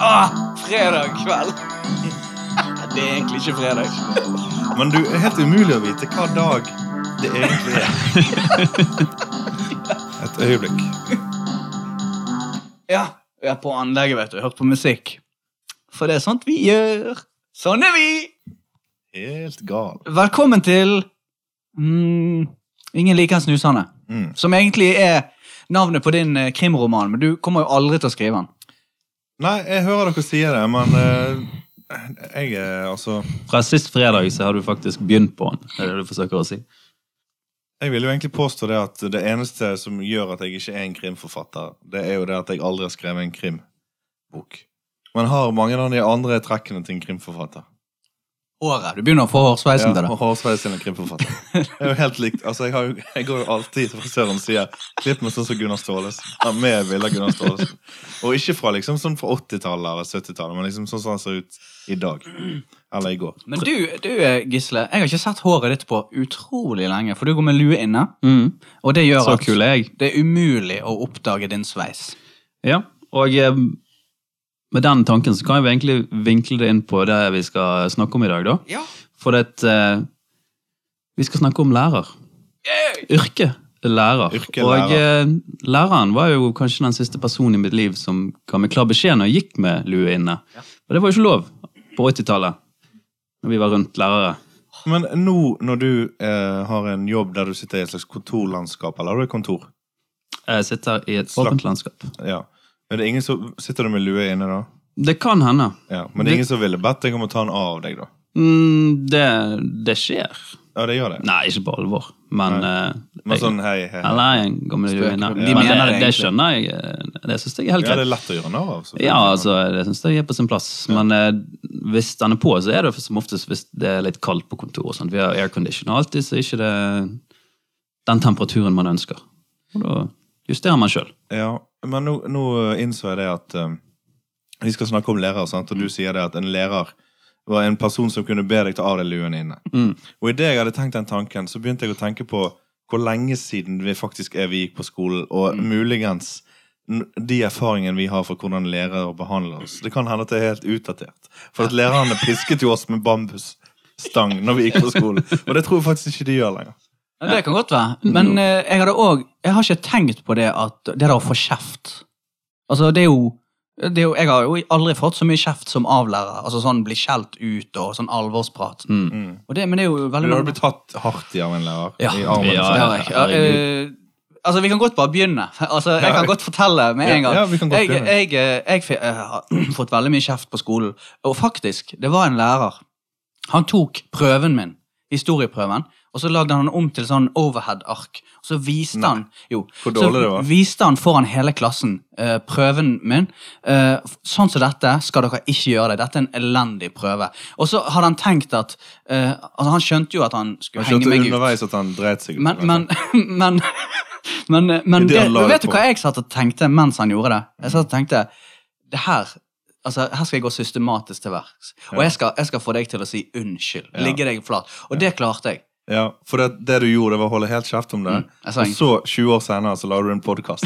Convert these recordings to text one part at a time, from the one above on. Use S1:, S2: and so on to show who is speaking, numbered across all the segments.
S1: Ah, fredag kveld. Det er egentlig ikke fredag.
S2: Men du er helt umulig å vite hva dag det egentlig er. Et øyeblikk.
S1: Ja, vi er på anlegget, vet du. Hørt på musikk. For det er sånt vi gjør. Sånn er vi!
S2: Helt gal.
S1: Velkommen til mm, Ingen liker en snusende.
S2: Mm.
S1: Som egentlig er navnet på din eh, krimroman, men du kommer jo aldri til å skrive den.
S2: Nei, jeg hører dere sier det, men eh, jeg er altså
S3: Fra sist fredag så har du faktisk begynt på den. Er det det du forsøker å si?
S2: Jeg vil jo egentlig påstå det at det eneste som gjør at jeg ikke er en krimforfatter, det er jo det at jeg aldri har skrevet en krimbok. Men har mange av de andre trekkene til en krimforfatter.
S1: Håret. Du begynner å få hårsveisen
S2: Ja,
S1: til
S2: og
S1: det.
S2: hårsveis til en krimforfatter. Det er jo helt likt. Altså, jeg, har jo, jeg går jo alltid til frisøren og sier 'klipp meg sånn som Gunnar Staalesen'. Ja, med bilde av Gunnar Staalesen. Og ikke fra liksom sånn fra 80-tallet eller 70-tallet, men liksom sånn som han ser ut i dag. Eller i går.
S1: Men du, du, eh, Gisle, jeg har ikke sett håret ditt på utrolig lenge, for du går med lue inne. Og det gjør
S3: Mm. Så
S1: at
S3: kul er jeg.
S1: det er umulig å oppdage din sveis.
S3: Ja, og eh, med den tanken så kan vi egentlig vinkle det inn på det vi skal snakke om i dag, da.
S1: Ja.
S3: For det at eh, Vi skal snakke om lærer. Yrket lærer.
S2: Yrket
S3: og
S2: lærer.
S3: eh, læreren var jo kanskje den siste personen i mitt liv som ga meg klar beskjed når jeg gikk med lue inne. Og det var jo ikke lov på 80-tallet, når vi var rundt lærere.
S2: Men nå når du eh, har en jobb der du sitter i et slags kontorlandskap, eller har du et kontor?
S3: Jeg sitter i et
S2: Slapp.
S3: åpent landskap.
S2: Ja. Er det ingen som, sitter du med lue inne da?
S3: Det kan hende.
S2: Ja. Men det er ingen som ville bedt deg om å ta den av deg, da?
S3: Mm, det, det skjer.
S2: Ja, det gjør det.
S3: Nei, ikke på alvor, men eh,
S2: Men
S3: jeg-
S2: sånn hei, hei. hei.
S3: Eller en gammel
S1: Spøk.
S3: ruine.
S1: De
S3: Men
S1: mener
S3: den er- det
S1: egentlig.
S3: skjønner jeg. eh, Det syns jeg er helt
S2: Ja, det
S3: greit.
S2: er lett å gjøre narr av. selvfølgelig.
S3: Ja, altså, det syns jeg er på sin plass. Men eh, hvis den er på, så er det som oftest hvis det er litt kaldt på kontoret. Sånn. Vi har aircondition og alltid, så er ikke det den temperaturen man ønsker. Og da justerer man sjøl.
S2: Ja, men nå, nå innså jeg det at eh, vi skal snakke om lærere, sant?
S3: Mm.
S2: og du sier det at en lærer var en person som kunne be deg ta av deg luen inne.
S3: Mm.
S2: Og idet jeg hadde tenkt den tanken, så begynte jeg å tenke på hvor lenge siden vi faktisk er vi gikk på skolen, og
S3: Mm.
S2: muligens n- de erfaringene vi har for hvordan lærere behandler oss. Det kan hende at det er helt utdatert. For at lærerne pisket jo oss med bambusstang når vi gikk på skolen. Og det tror jeg faktisk ikke de gjør lenger.
S1: Ja, det kan godt være. Men eh, jeg, hadde også, jeg har ikke tenkt på det at det der å få kjeft Altså, det er jo, det er jo Jeg har jo aldri fått så mye kjeft som av lærere. Altså sånn bli skjelt ut og sånn alvorsprat.
S3: Mm.
S1: Og det, men det er jo veldig
S2: Du har blitt tatt hardt i av en lærer.
S1: Ja.
S2: I armen.
S3: Ja,
S1: Det har jeg. Ja,
S3: herregud.
S1: eh, altså, vi kan godt bare begynne. Altså, jeg kan godt fortelle med
S2: Ja,
S1: en gang.
S2: ja, vi kan godt
S1: jeg,
S2: begynne.
S1: jeg, eh, jeg, fi- eh, har fått veldig mye kjeft på skolen. Og faktisk, det var en lærer. Han tok prøven min, historieprøven, og så lagde han den om til sånn overhead-ark. Og så viste
S2: Nei.
S1: han jo,
S2: Hvor dårlig
S1: så
S2: det var.
S1: viste han foran hele klassen eh, prøven min. eh, sånn som dette skal dere ikke gjøre det. Dette er en elendig prøve. Og så hadde han tenkt at eh, altså Han skjønte jo at han skulle
S2: Han
S1: henge
S2: skjønte
S1: meg ut.
S2: underveis at han dreit seg ut.
S1: Men, men, men, men, men
S2: Det
S1: det,
S2: han la
S1: vet
S2: ut
S1: du
S2: på.
S1: hva jeg satt og tenkte mens han gjorde det? Jeg satt og tenkte det her, altså, her skal jeg gå systematisk til verks. Og jeg skal, jeg skal få deg til å si unnskyld.
S2: Ja.
S1: Ligge deg flat. Og det klarte jeg.
S2: Ja, for det, det du gjorde, det var å holde helt kjeft om det.
S1: Mm, jeg sa
S2: og så, 20 år senere, så la du en podkast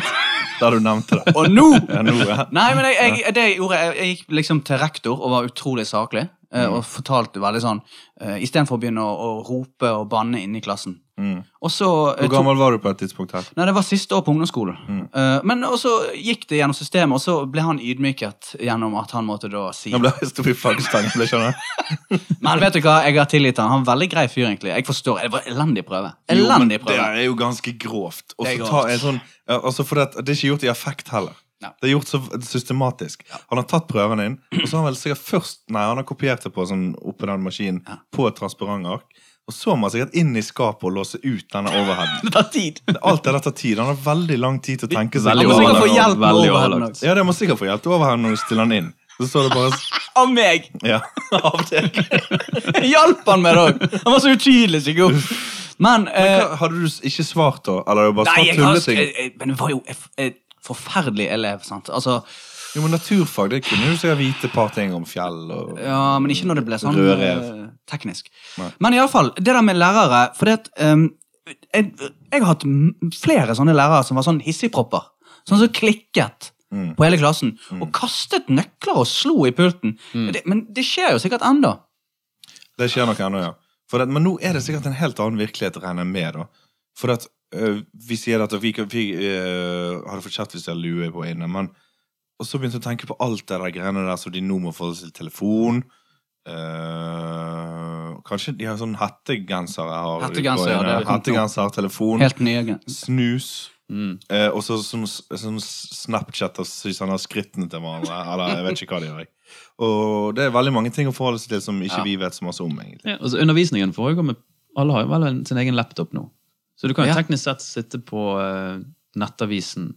S2: der du nevnte det.
S1: Og nå!
S2: Ja, nå, ja.
S1: Nei, men jeg, jeg, det jeg gjorde, jeg, jeg gikk liksom til rektor og var utrolig saklig. eh,
S2: Mm.
S1: Og fortalte veldig sånn eh, Istedenfor å begynne å, å rope og banne inne i klassen.
S2: Mm.
S1: Og så eh,
S2: Hvor
S1: tok-
S2: gammel var du på et tidspunkt her?
S1: Nei, det var siste år på ungdomsskolen.
S2: Mm.
S1: Eh, men så gikk det gjennom systemet, og så ble han ydmyket gjennom at han måtte da si
S2: Jeg ble sto i flaggstangen, ble skjønner jeg.
S1: Men vet du hva, jeg har tilgitt han. Han er veldig grei fyr, egentlig. Jeg forstår. Det var elendig prøve.
S2: Jo, men
S1: Elendig
S2: det
S1: prøve.
S2: er jo ganske grovt. Og
S1: Det er
S2: så ta
S1: grovt.
S2: en sånn, ja, altså for det, at det er ikke gjort i affekt heller.
S1: Ja.
S2: Det er gjort så systematisk. Han har tatt prøven inn, og så har han vel sikkert først Nei, han har kopiert det på sånn oppe den maskinen
S1: Ja.
S2: på et transparentark. Og så må han sikkert inn i skapet og låse ut denne overheaden.
S1: Det tar tid.
S2: Alt det der tar tid. Han har veldig lang tid til å tenke seg
S3: Veldig
S1: Han må sikkert få
S3: overlagt.
S1: hjelp med
S3: Veldig
S1: overheaden
S3: overlagt.
S1: også.
S2: Ja, det må sikkert få hjelp til overhead når du stiller den inn. Så står det bare
S1: Av meg!
S2: ja. av deg.
S1: Jeg hjalp han med det òg! Han var så utydelig sikkert. Men, eh,
S2: Hva- Hadde du s- ikke svart, da? Eller har du bare
S1: Nei,
S2: svart
S1: jeg har
S2: tulleting?
S1: jeg- Men det var jo et, et forferdelig elev, sant. Altså,
S2: Jo, men naturfag, det kunne du sikkert vite et par ting om fjell og
S1: Ja, men ikke når det ble sånn
S2: Rød rev.
S1: eh, teknisk.
S2: Nei.
S1: Men iallfall, det der med lærere For det at ehm, jeg, jeg har hatt m- flere sånne lærere som var sånn hissigpropper. Sånn som klikket.
S2: Mm.
S1: på hele klassen og kastet nøkler og slo i pulten. Det, men det skjer jo sikkert ennå.
S2: Det skjer nok ennå, ja. For at, men nå er det sikkert en helt annen virkelighet å regne med, da. For at øh, vi sier at vi, kan- vi øh, hadde fått kjeft hvis jeg hadde lue på inne, men Og så begynte jeg å tenke på alt det der greiene der som de nå må forholde seg til telefon. Øh, kanskje de har sånn hettegensere har
S1: Hettegenser, ja, det har vi kommet til.
S2: Hettegenser, telefon,
S1: Helt nye gens.
S2: snus.
S3: Mm.
S2: Eh, og så sånn, sånn Snapchat og så sånn av skrittene til hverandre. Eller jeg vet ikke hva de gjør. jeg. Og det er veldig mange ting å forholde seg til som ikke
S1: Ja.
S2: vi vet så masse om. egentlig.
S3: Ja, altså undervisningen foregår med Alle har jo vel en, sin egen laptop nå. Så du kan jo
S1: Ja.
S3: teknisk sett sitte på eh, nettavisen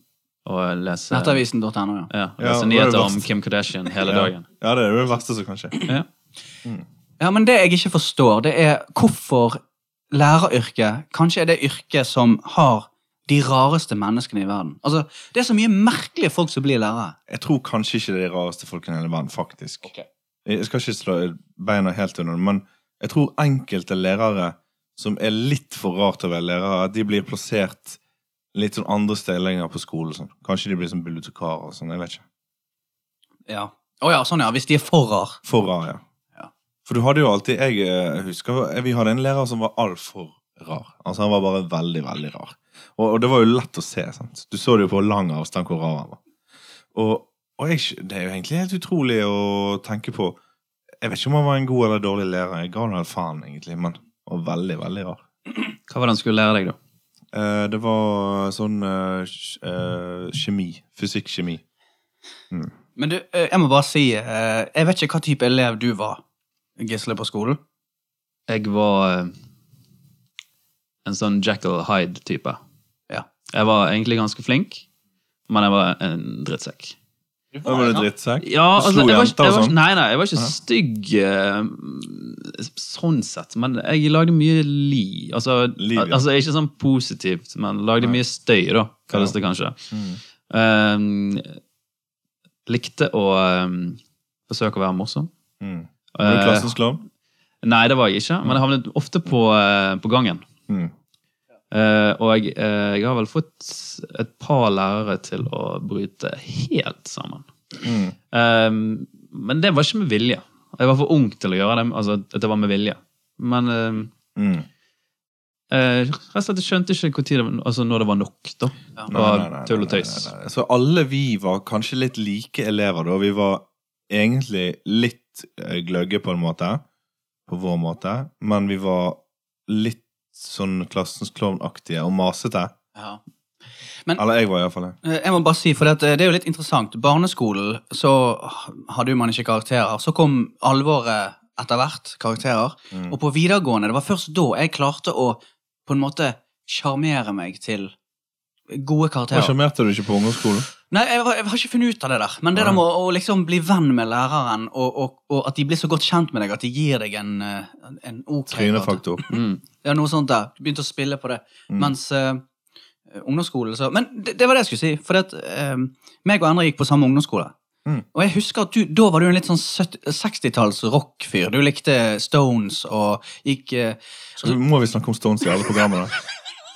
S3: og lese,
S1: Nettavisen.no, ja.
S3: Ja, og
S2: Ja,
S3: lese
S2: det er det
S3: nyheter om
S2: verste.
S3: Kim Kardashian hele
S2: Ja.
S3: dagen.
S2: Ja, det er jo det verste som kan skje.
S3: Ja.
S1: Ja, men det jeg ikke forstår, det er hvorfor læreryrket kanskje er det yrket som har de rareste menneskene i verden. Altså, Det er så mye merkelige folk som blir lærere.
S2: Jeg tror kanskje ikke det er de rareste folkene i hele verden, faktisk. Jeg skal ikke slå beina helt under det, men jeg tror enkelte lærere som er litt for rare til å være lærere, de blir plassert litt sånn andre steder lenger på skolen. Sånn. Kanskje de blir sånn bibliotekarer og sånn. Jeg vet ikke.
S1: Ja. Å ja, sånn ja, hvis de er for rar.
S2: For rar, ja.
S1: Ja.
S2: For du hadde jo alltid Jeg eh, husker eh, vi hadde en lærer som var altfor rar. Altså Han var bare veldig, veldig rar. Og, og det var jo lett å se. sant? Du så det jo på lang avstand hvor rar han var. Og, og jeg, skj- det er jo egentlig helt utrolig å tenke på. Jeg vet ikke om han var en god eller dårlig lærer. Jeg ga han helt faen, egentlig, men han var veldig, veldig rar.
S3: Hva var det han skulle lære deg, da?
S2: Eh, det var sånn eh, kj- eh, kjemi. Fysikk-kjemi.
S1: Men du, eh, jeg må bare si, eh, jeg vet ikke hva type elev du var, Gisle, på skolen.
S3: Jeg var eh, en sånn Jackal Hyde-type.
S1: Ja.
S3: Jeg var egentlig ganske flink, men jeg var en drittsekk.
S2: Da var det drittsekk.
S3: Ja,
S2: Du
S3: altså,
S2: slo
S3: jeg var, ikke-
S2: jenter og
S3: jeg var,
S2: sånn.
S3: ikke- nei, nei, jeg var ikke
S2: Ja.
S3: stygg eh, sånn sett, men jeg lagde mye li. Altså,
S2: Liv, ja.
S3: altså ikke sånn positivt, men lagde mye støy, da, kalles det kanskje.
S2: Mm.
S3: Eh, likte å eh, forsøke å være morsom.
S2: Mm. Var du
S3: Eh,
S2: klassens klovn?
S3: Nei, det var jeg ikke, men jeg havnet ofte på, eh, på gangen.
S2: Mm.
S3: Eh, og jeg, eh, jeg har vel fått et par lærere til å bryte helt sammen.
S2: Mm.
S3: Eh, men det var ikke med vilje. Jeg var for ung til å gjøre det. altså at det var med vilje. Men
S2: Mm.
S3: eh, eh, rett og slett jeg skjønte ikke hvor tid det, var- altså når det var nok. da.
S1: Ja.
S3: Det var tull og tøys.
S2: nei, nei, nei. Så alle vi var kanskje litt like elever da. Vi var egentlig litt eh, gløgge på en måte, på vår måte, men vi var litt sånn klassens klovnaktige og masete.
S1: Ja.
S2: Eller jeg var iallfall det.
S1: Eh, Jeg må bare si, for det, at det er jo litt interessant. Barneskolen så hadde jo man ikke karakterer. Så kom alvoret etter hvert, karakterer.
S2: Mm.
S1: Og på videregående, det var først da jeg klarte å på en måte sjarmere meg til gode
S2: Hva
S1: karakterer.
S2: sjarmerte du ikke på ungdomsskolen?
S1: Nei, jeg, var- jeg har ikke funnet ut av det der. Men det der med å, å liksom bli venn med læreren, og, og, og at de blir så godt kjent med deg at de gir deg en, eh, en ok karakter.
S2: Trynefaktor.
S3: Mm.
S1: Ja, noe sånt der. Du begynte å spille på det.
S2: Mm.
S1: Mens eh, ungdomsskolen så Men det, det var det jeg skulle si. For det, at, eh, meg og andre gikk på samme ungdomsskole.
S2: Mm.
S1: Og jeg husker at du, da var du en litt sånn 70 60-talls rockfyr. Du likte Stones og gikk eh,
S2: Så må vi snakke om Stones i alle programmene.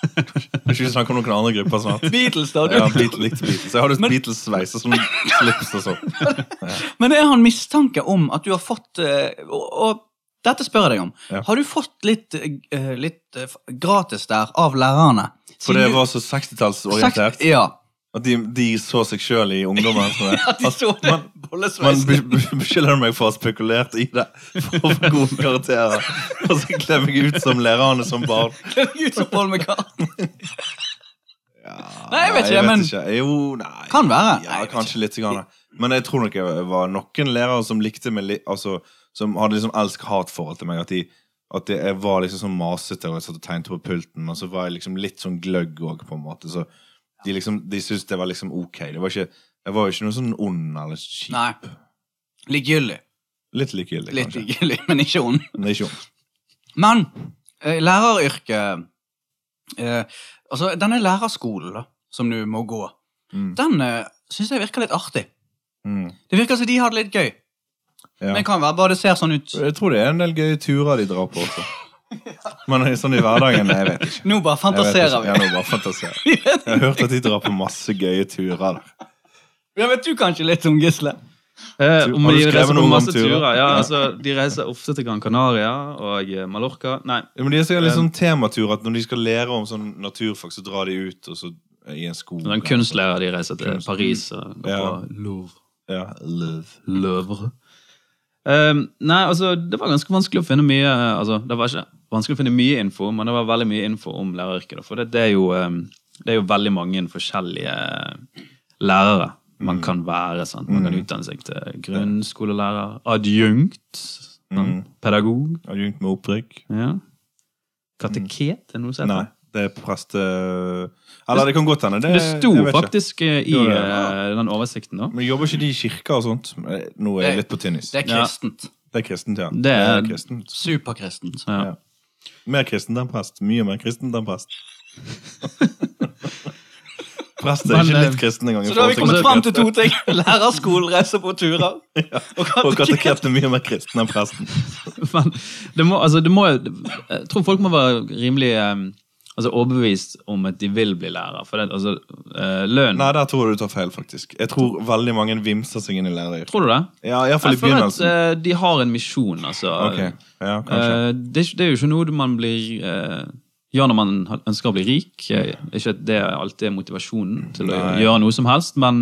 S2: Kan ikke vi snakke om noen andre grupper snart?
S1: Beatles, da. Du.
S2: Ja, Beatles, likte Beatles. Jeg hadde Beatles-sveis og sånn slips og sånn.
S1: Men jeg har en mistanke om at du har fått eh, og, og dette spør jeg deg om.
S2: Ja.
S1: Har du fått litt, eh, litt eh, gratis der av lærerne?
S2: For det
S1: Siden du-
S2: var så 60-tallsorientert.
S1: Ja.
S2: At de, de så seg sjøl i ungdommen. sånn der.
S1: At de så
S2: Altså,
S1: det
S2: man- Man
S1: bollesveisen.
S2: be- be- beskylder meg for å ha spekulert i det for å få gode karakterer. Og så kler jeg meg ut som lærerne som barn.
S1: Ut som Paul McCartney. Nei, jeg vet ikke,
S2: vet
S1: men-
S2: ikke. Jo, nei.
S1: Kan være. Nei,
S2: Ja,
S1: jeg vet
S2: kanskje litt. Grann. Men jeg tror nok jeg var noen lærere som likte meg litt altså, Som hadde liksom elsk-hat-forhold til meg. At, de, at det- jeg var liksom sånn masete og jeg satt og tegnet på pulten. Og så var jeg liksom litt sånn gløgg òg, på en måte. Så de, liksom, de syntes det var liksom ok. Det var ikke, jeg var jo ikke noe sånn ond eller kjip.
S1: Nei. Likegyldig.
S2: Litt likegyldig,
S1: Litt
S2: kanskje.
S1: likegyldig, men ikke ond.
S2: Men ikke ond.
S1: Men eh, læreryrket eh, Altså, denne lærerskolen da, som du må gå,
S2: Mm.
S1: den eh, syns jeg virker litt artig.
S2: Mm.
S1: Det virker som de har det litt gøy.
S2: Ja.
S1: Men det kan være bare det ser sånn ut.
S2: Jeg tror det er en del gøye turer de drar på også. Men sånn i hverdagen, jeg vet ikke.
S1: Nå bare
S2: Jeg vet ikke.
S1: fantaserer vi.
S2: Ja, nå bare fantaserer. Jeg har hørt at de drar på masse gøye turer der.
S1: Ja, vet du kanskje litt om Gisle?
S3: Eh, om
S2: Har du
S3: de
S2: skrevet
S3: reiser
S2: noe
S3: på
S2: om
S3: masse
S2: turer?
S3: turer. Ja, altså, de reiser ofte til Gran Canaria og eh, Mallorca. Nei,
S2: Ja, men De skal litt sånn tematur at når de skal lære om sånn naturfag, så drar de ut og så i en skog.
S3: den kunstlærer de reiser til
S2: Kunst.
S3: Paris og går
S2: Ja.
S3: på Louvre.
S2: Ja, love.
S3: Løvre. Ehm, nei, altså, det var ganske vanskelig å finne mye eh, altså, Det var ikke vanskelig å finne mye info, men det var veldig mye info om læreryrket. da, For det, det, er jo, ehm, det er jo veldig mange forskjellige lærere
S2: Mm.
S3: man kan være. Sant? Man kan utdanne seg til grunnskolelærer, adjunkt, sant?
S2: Mm.
S3: pedagog
S2: Adjunkt med opprykk.
S3: ja. Kateket, er det noe som
S2: Nei,
S3: heter?
S2: det er preste... Eller det kan godt hende.
S3: Det sto
S2: jeg vet ikke.
S3: faktisk eh, i
S2: Jo, det-
S3: eh, den oversikten, da.
S2: Men Jobber ikke de i kirka og sånt? Eh, Nå er jeg litt på tynnis.
S1: Det er
S3: Ja.
S1: kristent.
S2: Det er kristent, ja.
S3: Det er-
S2: kristent.
S1: Superkristent.
S3: Ja.
S2: Ja. Mer kristent enn prest. Mye mer kristent enn prest. prest er
S3: Men,
S2: ikke
S3: eh,
S2: litt kristen engang. i
S1: Så da har vi
S2: forhold
S1: kommet
S2: til
S1: fram til to ting. Lærerskolen, reise på turer. Og
S2: kateket. Og
S1: kateket.
S2: kateket er mye mer kristen enn presten.
S3: Men det må, altså, det må, jeg tror folk må være rimelig eh, altså, overbevist om at de vil bli lærer. For det, altså, eh, lønn
S2: Nei, der tror jeg du tar feil, faktisk. Jeg tror veldig mange vimser seg inn i læreryrket.
S3: Tror du det?
S2: Ja, iallfall i
S3: Jeg føler at
S2: begynnelsen.
S3: eh, de har en misjon, altså.
S2: Ok, ja, kanskje.
S3: Eh, det, er ikke- det er jo ikke noe man blir eh, gjør når man ha- ønsker å bli rik. Eh, Ikke at det alltid er motivasjonen til å
S2: Nei.
S3: gjøre noe som helst, men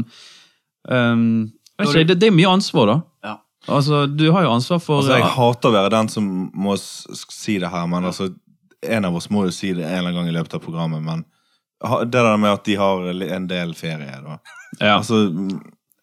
S3: ehm, vet
S1: Når du-
S3: ikke, det, det er mye ansvar, da.
S1: Ja.
S3: Altså, Du har jo ansvar for
S2: Altså, jeg
S3: eh,
S2: hater å være den som må s- s- si det her, men altså, en av oss må jo si det en eller annen gang i løpet av programmet, men ha- det der med at de har li- en del ferie, da.
S3: ja.
S2: Altså, mm,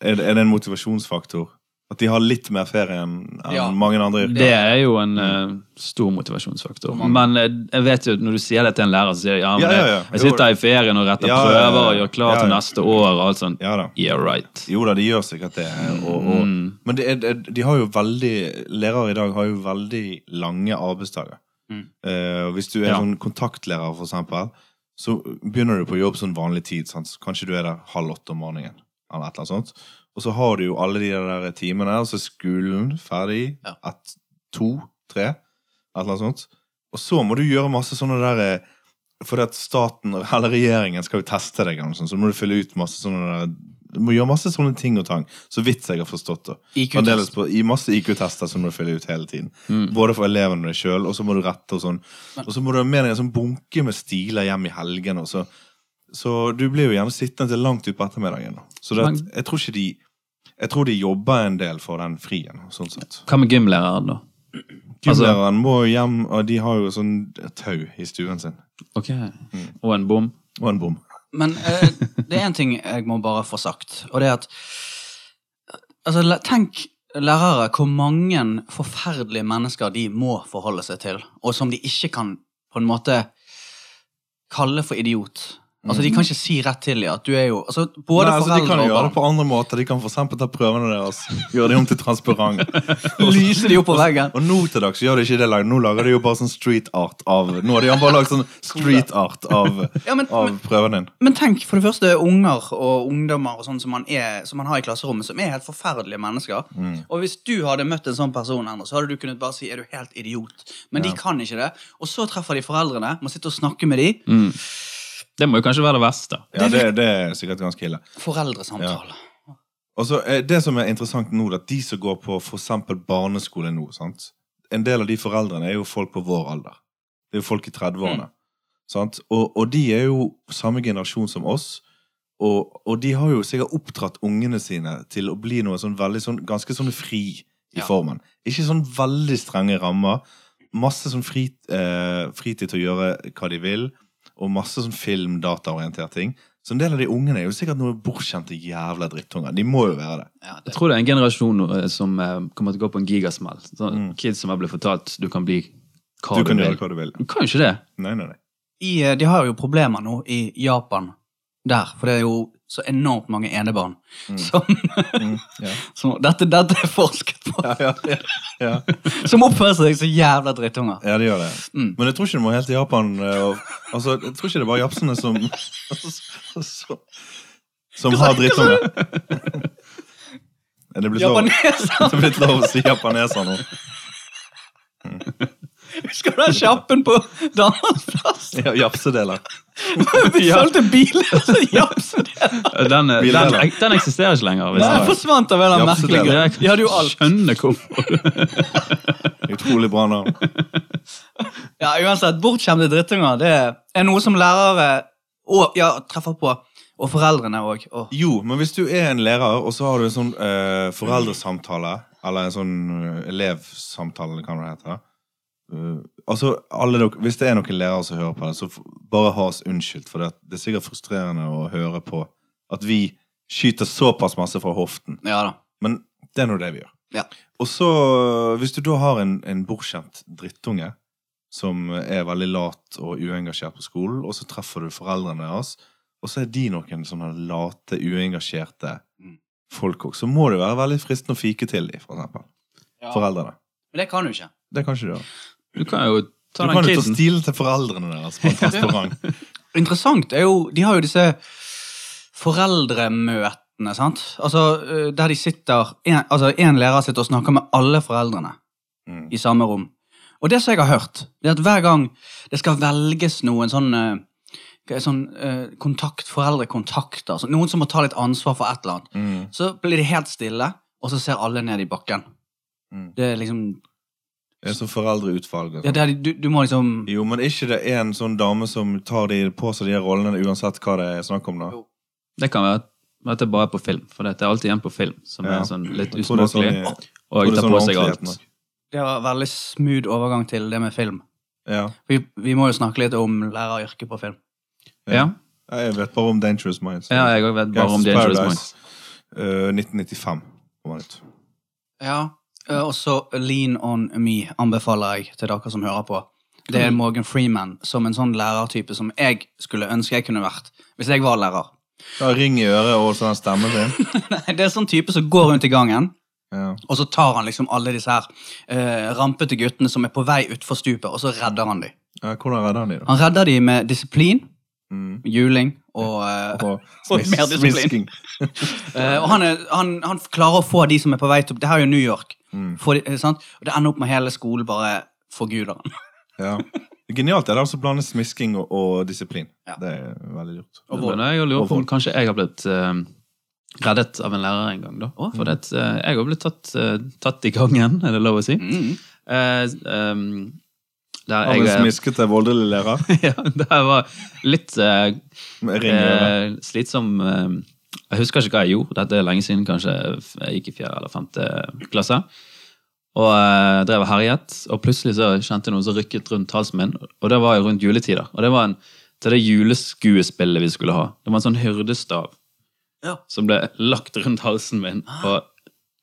S2: er det, er det en motivasjonsfaktor? At de har litt mer ferie enn enn
S1: Ja.
S2: mange andre yrker?
S3: Det er jo en eh,
S2: Mm.
S3: stor motivasjonsfaktor. Men eh, jeg vet jo at når du sier det til en lærer, så sier de ja, men
S2: Ja, ja, ja.
S3: jeg- jeg sitter i ferien og retter
S2: Ja, ja, ja, ja.
S3: prøver og gjør klar til
S2: Ja, ja.
S3: neste år og alt sånt.
S2: Ja da.
S3: Yeah, right.
S2: Jo da, de gjør sikkert det. Og, og, Men det er, det- de har jo veldig lærere i dag har jo veldig lange arbeidsdager.
S1: Mm.
S2: Eh, og hvis du er
S3: Ja.
S2: sånn kontaktlærer, for eksempel, så begynner du på jobb sånn vanlig tid. Sant? Så kanskje du er der halv åtte om morgenen. Eller et eller annet sånt. Og så har du jo alle de der timene, og så er skolen ferdig
S1: Ja.
S2: ett, to, tre. Et eller annet sånt. Og så må du gjøre masse sånne der eh, fordi at staten eller regjeringen skal jo teste deg, eller noe sånt, så må du fylle ut masse sånne Du må gjøre masse sånne ting og tang. Så vidt jeg har forstått det. Fremdeles
S1: IQ-test.
S2: på, I masse IQ-tester som du fyller ut hele tiden.
S1: Mm.
S2: Både for elevene og deg sjøl, og så må du rette og sånn. Og så må du ha med deg en sånn bunke med stiler hjem i helgene. og Så, så du blir jo gjerne sittende til langt utpå ettermiddagen. da. Så det, at- jeg tror ikke de jeg tror de jobber en del for den frien. sånn sett.
S3: Hva med gymlæreren, da? Altså-
S2: Gymlæreren må jo hjem, og de har jo sånn tau i stuen sin.
S3: Ok.
S2: Mm.
S3: Og en bom.
S2: Og en bom.
S1: Men eh, det er én ting jeg må bare få sagt, og det er at altså, la- Tenk lærere, hvor mange forferdelige mennesker de må forholde seg til, og som de ikke kan på en måte kalle for idiot. Altså, De kan ikke si rett til dem at du er jo altså, Både
S2: Mm. Nei, altså, de
S1: foreldre
S2: kan jo
S1: og
S2: gjøre
S1: barn.
S2: det på andre måter. De kan for eksempel ta prøvene deres, gjøre de om til transparent.
S1: Lyser de opp på veggen.
S2: Og nå til dags gjør de ikke det lenger. Nå lager de jo bare sånn street art av Nå har de bare lagd sånn street art av,
S1: Ja, men-
S2: av prøven din.
S1: Men tenk, for det første unger og ungdommer og sånn som man, er, som man har i klasserommet, som er helt forferdelige mennesker.
S2: Mm.
S1: Og hvis du hadde møtt en sånn person, Anders, så hadde du kunnet bare si er du helt idiot. Men de kan ikke det. Og så treffer de foreldrene, må sitte og snakke med de.
S3: Mm. Det må jo kanskje være det verste.
S2: Ja, det, det er sikkert ganske ille.
S1: Foreldresamtale.
S2: Og så eh, Det som er interessant nå, det er at de som går på for eksempel barneskole nå sant? En del av de foreldrene er jo folk på vår alder. Det er jo folk i 30-årene. Sant? Og, og de er jo samme generasjon som oss. Og, og de har jo sikkert oppdratt ungene sine til å bli noe sånn veldig sånn, ganske sånn fri i
S1: Ja.
S2: formen. Ikke sånn veldig strenge rammer. Masse sånn frit, eh, fritid til å gjøre hva de vil, og masse sånn film, dataorientert ting. Så en del av de ungene er jo sikkert noe bortskjemte jævla drittunger. De må jo være det.
S1: Ja,
S3: Jeg
S1: det,
S3: tror det er en generasjon eh, som eh, kommer til å gå på en gigasmell. Sånn, Kids som har blitt fortalt du kan bli
S2: Mm.
S3: hva
S2: Du
S3: du,
S2: kan
S3: vil.
S2: gjøre hva du vil.
S3: Du kan jo ikke det.
S2: Nei, nei, nei.
S1: I, eh, de har jo problemer nå i Japan der, for det er jo så enormt mange enebarn.
S2: Mm.
S1: Som,
S2: ja.
S1: som, dette, dette er forsket på.
S2: Ja, ja, ja.
S1: Som oppfører seg som jævla drittunger.
S2: ja, det gjør det.
S1: Mm.
S2: Men jeg tror ikke det må helt til Japan. eh, Og, altså, jeg tror ikke det er bare japsene som Som, som har drittunger. Er det blitt lov?
S1: Japaneser!
S2: Det er blitt lov å si japaneser nå.
S1: Husker du den kjappen på Danmarksplass?
S2: Ja, japsedeler.
S1: Vi solgte biler, og så japs
S3: Den, den,
S2: Vi
S3: den,
S2: lever.
S3: den eksisterer ikke lenger. Hvis
S1: Den
S2: Nei.
S3: jeg,
S1: forsvant av en eller annen
S2: Japsedel.
S1: merkelig grunn.
S3: jeg kan
S1: Ja, du alt.
S3: skjønner hvorfor.
S2: Utrolig bra navn.
S1: Ja, uansett, bortskjemte drittunger det er noe som lærere og, ja, treffer på. Og foreldrene òg.
S2: Jo, men hvis du er en lærer, og så har du en sånn eh, foreldresamtale, eller en sånn eh, elevsamtale, eller hva det heter eh, Altså, alle dere, Hvis det er noen lærere som hører på det, så f- bare ha oss unnskyldt, for det, det er sikkert frustrerende å høre på at vi skyter såpass masse fra hoften.
S1: Ja da.
S2: Men det er nå det vi gjør.
S1: Ja.
S2: Og så, hvis du da har en, en bortskjemt drittunge som er veldig lat og uengasjert på skolen, og så treffer du foreldrene deres, og så er de noen sånne late, uengasjerte
S1: Mm.
S2: folk òg, så må det være veldig fristende å fike til dem, for eksempel. Foreldrene.
S1: Men det kan du ikke.
S2: Det kan ikke du. gjøre.
S3: Du kan jo
S2: Du
S3: ta
S2: kan
S3: den
S2: jo ta
S3: kiden.
S2: stilen til foreldrene deres på en restaurant.
S1: Interessant er jo De har jo disse foreldremøtene, sant. Altså, eh, der de sitter en, Altså, én lærer sitter og snakker med alle foreldrene.
S2: Mm.
S1: i samme rom. Og det som jeg har hørt, det er at hver gang det skal velges noen sånn, eh, hva er sånn eh, kontakt, foreldrekontakter, så noen som må ta litt ansvar for et eller annet,
S2: Mm.
S1: så blir det helt stille, og så ser alle ned i bakken.
S2: Mm.
S1: Det er liksom
S2: Det er som foreldreutvalg. og sånn.
S1: ja, det er, du, du må liksom
S2: Jo, men er ikke det en sånn dame som tar de på seg de rollene uansett hva det er snakk om, da?
S1: Jo.
S3: Det kan være at det bare er på film, for det er alltid en på film som
S2: Ja.
S3: er sånn litt
S2: Jeg tror det er sånn i-
S3: usmakelig og
S2: tror det er
S3: tar
S2: sånn
S3: på seg
S2: ordentligheten
S3: alt.
S2: nok.
S1: Det var veldig smooth overgang til det med film.
S2: Ja.
S1: Vi, vi må jo snakke litt om læreryrket på film.
S3: Ja,
S2: Ja, Jeg vet bare om Dangerous Minds.
S3: ja jeg òg vet bare om The Angelus Minds.
S2: Eh, 1995 kom han ut.
S1: Ja, eh, og så Lean On Me anbefaler jeg til dere som hører på. Det
S2: Mm.
S1: er Morgan Freeman som en sånn lærertype som jeg skulle ønske jeg kunne vært hvis jeg var lærer.
S2: Ja, ring i øret og sånn stemmen din.
S1: Nei, Det er sånn type som går rundt i gangen,
S2: Ja.
S1: og så tar han liksom alle disse her eh, rampete guttene som er på vei utfor stupet, og så redder han dem.
S2: Ja, hvordan redder han de, da?
S1: Han redder dem med disiplin,
S2: Mm.
S1: juling og eh,
S2: Og
S1: Og mer disiplin.
S2: smisking.
S1: eh, Og han, er, han, han klarer å få de som er på vei til Det her er jo New York.
S2: Mm.
S1: Få de, eh, sant? Og det ender opp med hele skolen bare forguder han.
S2: Ja. Genialt er det altså å blande smisking og, og disiplin.
S1: Ja.
S2: Det er veldig lurt.
S1: Og
S3: Men
S1: vold.
S3: jeg lurer på om
S2: vold.
S3: kanskje jeg har blitt eh, reddet av en lærer en gang. da. For det, at, eh, jeg har blitt tatt, eh, tatt i gangen, er det lov å si.
S1: Mm.
S3: Eh, ehm, der
S2: Av
S3: jeg,
S2: en
S3: eh,
S2: smiskete, voldelig lærer.
S3: ja, det her var litt eh,
S2: Ring i øret.
S3: eh, slitsom eh, Jeg husker ikke hva jeg gjorde. Dette er lenge siden, kanskje f- jeg gikk i fjerde eller femte klasse. Og eh, drev og herjet, og plutselig så kjente jeg noen som rykket rundt halsen min. Og det var jo rundt juletider. Og det var en, til det juleskuespillet vi skulle ha. Det var en sånn hyrdestav
S1: Ja.
S3: som ble lagt rundt halsen min og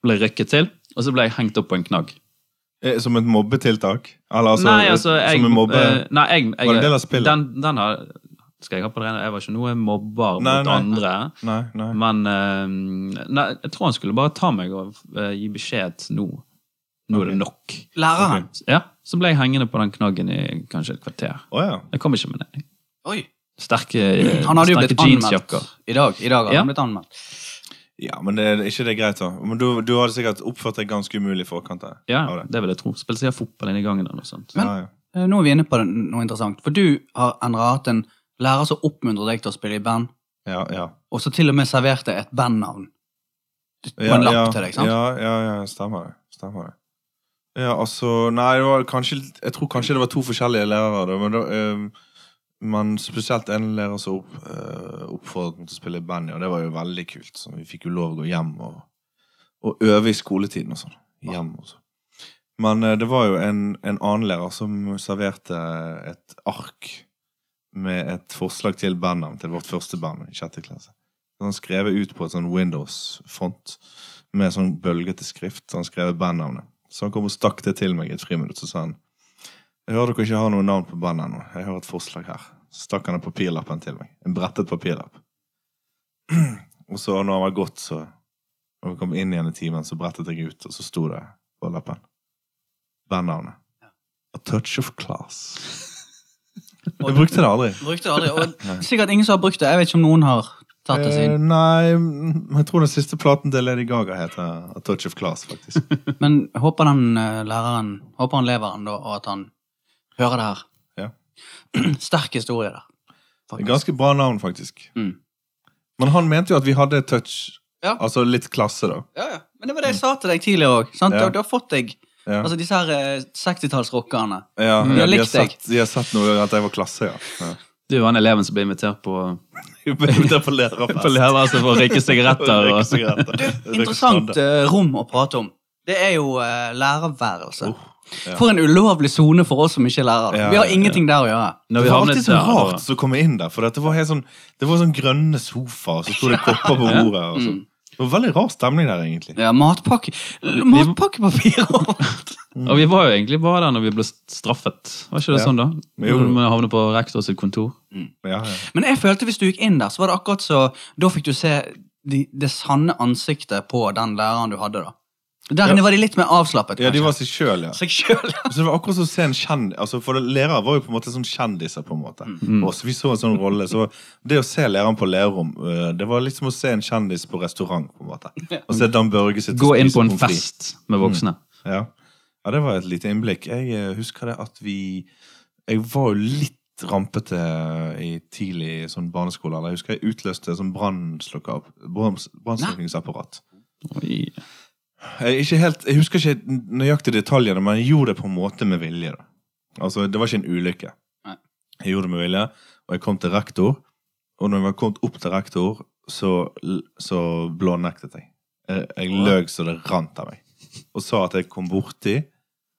S3: ble rykket til. Og så ble jeg hengt opp på en knagg.
S2: Eh, Som et mobbetiltak? Eller altså,
S3: nei, altså, jeg,
S2: som en mobbe...
S3: eh, nei, jeg, jeg,
S2: Var det en del av spillet?
S3: Den, den har, skal jeg ha på det rene? Jeg var ikke noe mobber
S2: Nei,
S3: mot
S2: nei.
S3: andre.
S2: nei, nei.
S3: Men eh, nei, jeg tror han skulle bare ta meg og eh, gi beskjed nå. Nå er det nok.
S1: Læreren.
S2: Ok.
S3: Ja, Så ble jeg hengende på den knaggen i kanskje et kvarter.
S2: Å ja.
S3: Jeg kom ikke med det.
S1: Oi.
S3: Sterke, eh,
S1: Han hadde jo
S3: sterke
S1: blitt anmeldt
S3: jeansjakker.
S1: i dag. I dag hadde
S3: Ja.
S1: han blitt anmeldt.
S2: Ja, men det, er ikke det greit, da? Men du, du hadde sikkert oppført deg ganske umulig i forkant av
S3: Ja,
S2: av det.
S3: det vil jeg tro. Spilte sikkert fotball inne i gangen eller noe sånt.
S1: Men-
S2: Ja, ja.
S1: Eh, Nå er vi inne på det- noe interessant. For du har Endre, hatt en lærer som oppmuntrer deg til å spille i band,
S2: Ja, ja.
S1: og så til og med serverte et bandnavn på en lapp til deg. sant?
S2: Ja, ja, ja stemmer det. Stemmer det. Ja, altså Nei, det var kanskje Jeg tror kanskje det var to forskjellige lærere, da, men, da, ehm, men spesielt en lærer som opp, eh, oppfordret meg til å spille i band, og det var jo veldig kult. Så vi fikk jo lov å gå hjem og, og øve i skoletiden og sånn. Hjem og sånn. Men eh, det var jo en, en annen lærer som serverte et ark med et forslag til bandnavn til vårt første band i sjette klasse. Så Han skrev ut på et sånn Windows-font med sånn bølgete skrift. Så han skrev bandnavnet. Så han kom og stakk det til meg i et friminutt, så sa han Jeg hører dere ikke har noe navn på bandet ennå. Jeg har et forslag her. Så stakk han en papirlappen til meg. En brettet papirlapp. og så, når han var gått, så Og vi kom inn igjen i timen, så brettet jeg ut, og så sto det på lappen. Bandnavnet. A touch of class. Jeg brukte det aldri.
S1: Brukte det aldri. Og sikkert ingen som har brukt det. Jeg vet ikke om noen har tatt det
S2: Eh,
S1: siden.
S2: nei, mm, jeg tror den siste platen til Lady Gaga heter A Touch of Class, faktisk.
S1: Men jeg håper den eh, læreren håper han lever ennå, og at han hører det her.
S2: Ja.
S1: Sterk historie der. faktisk.
S2: Ganske bra navn, faktisk.
S1: Mm.
S2: Men han mente jo at vi hadde touch,
S1: Ja.
S2: altså litt klasse, da.
S1: Ja, ja. Men det var det jeg sa til deg tidligere òg. sant?
S2: Ja.
S1: Da- Da har fått deg
S2: Ja.
S1: altså disse her eh, 60-tallsrockerne.
S2: Ja,
S1: Mm. Jeg
S2: ja, de, har
S1: likte deg.
S2: sett, de har sett noe at jeg var klasse, ja.
S3: Du var han eleven som ble invitert på,
S2: ja. Det er på lærerfest.
S3: på
S2: altså,
S3: lærerværelset for å røyke sigaretter.
S2: Røyke
S3: Og,
S2: sigaretter. Røyke
S1: Interessant
S2: standard.
S1: eh, rom å prate om. Det er jo eh, lærerværelse.
S2: Oh, ja.
S1: For en ulovlig sone for oss som ikke er lærere.
S2: Ja,
S1: vi
S2: ja,
S1: har
S2: ja.
S1: ingenting der å gjøre.
S3: når
S2: Det
S3: vi
S2: var
S3: havnet
S2: alltid så
S3: der, da-
S2: rart å komme inn der, for det var helt sånn, det var sånn grønne sofa, og så sto det kopper på bordet. Og sånn.
S1: Mm.
S2: Det var veldig rar stemning der, egentlig.
S1: Ja, matpakke L- Matpakkepapir overalt.
S3: Og vi var jo egentlig bare der når vi ble straffet. Var ikke det
S2: Ja.
S3: sånn, da?
S2: Jo.
S3: Når vi havnet på rektor sitt kontor.
S2: Ja, ja.
S1: Men jeg følte hvis du gikk inn der, så var det akkurat så Da fikk du se de, det sanne ansiktet på den læreren du hadde, da. Der
S2: Ja.
S1: inne var de litt mer avslappet,
S2: ja de var seg sjøl, ja.
S1: Seg sjøl.
S2: Så det var akkurat som å se en kjendis altså For det- lærere var jo på en måte sånn kjendiser. på en måte
S3: Mm.
S2: Og så Vi så en sånn rolle. Så det å se læreren på lærerrom, øh, det var liksom å se en kjendis på restaurant. på en måte Og se Dan Børge sitte
S3: Gå
S2: og
S3: inn
S2: spise
S3: på en
S2: pommes frites.
S3: fest med voksne.
S2: Ja. ja, det var et lite innblikk. Jeg eh, husker det at vi Jeg var jo litt rampete eh, i tidlig sånn barneskole. Eller jeg husker jeg utløste sånn brannslukker- branns- brannslukningsapparat.
S3: Oi.
S2: Jeg, er ikke helt, jeg husker ikke nøyaktig detaljene, men jeg gjorde det på en måte med vilje. Da. Altså, Det var ikke en ulykke.
S1: Nei.
S2: Jeg gjorde det med vilje, og jeg kom til rektor. Og når jeg var kommet opp til rektor, så, l- så blånektet jeg. Jeg, jeg løg så det rant av meg. Og sa at jeg kom borti.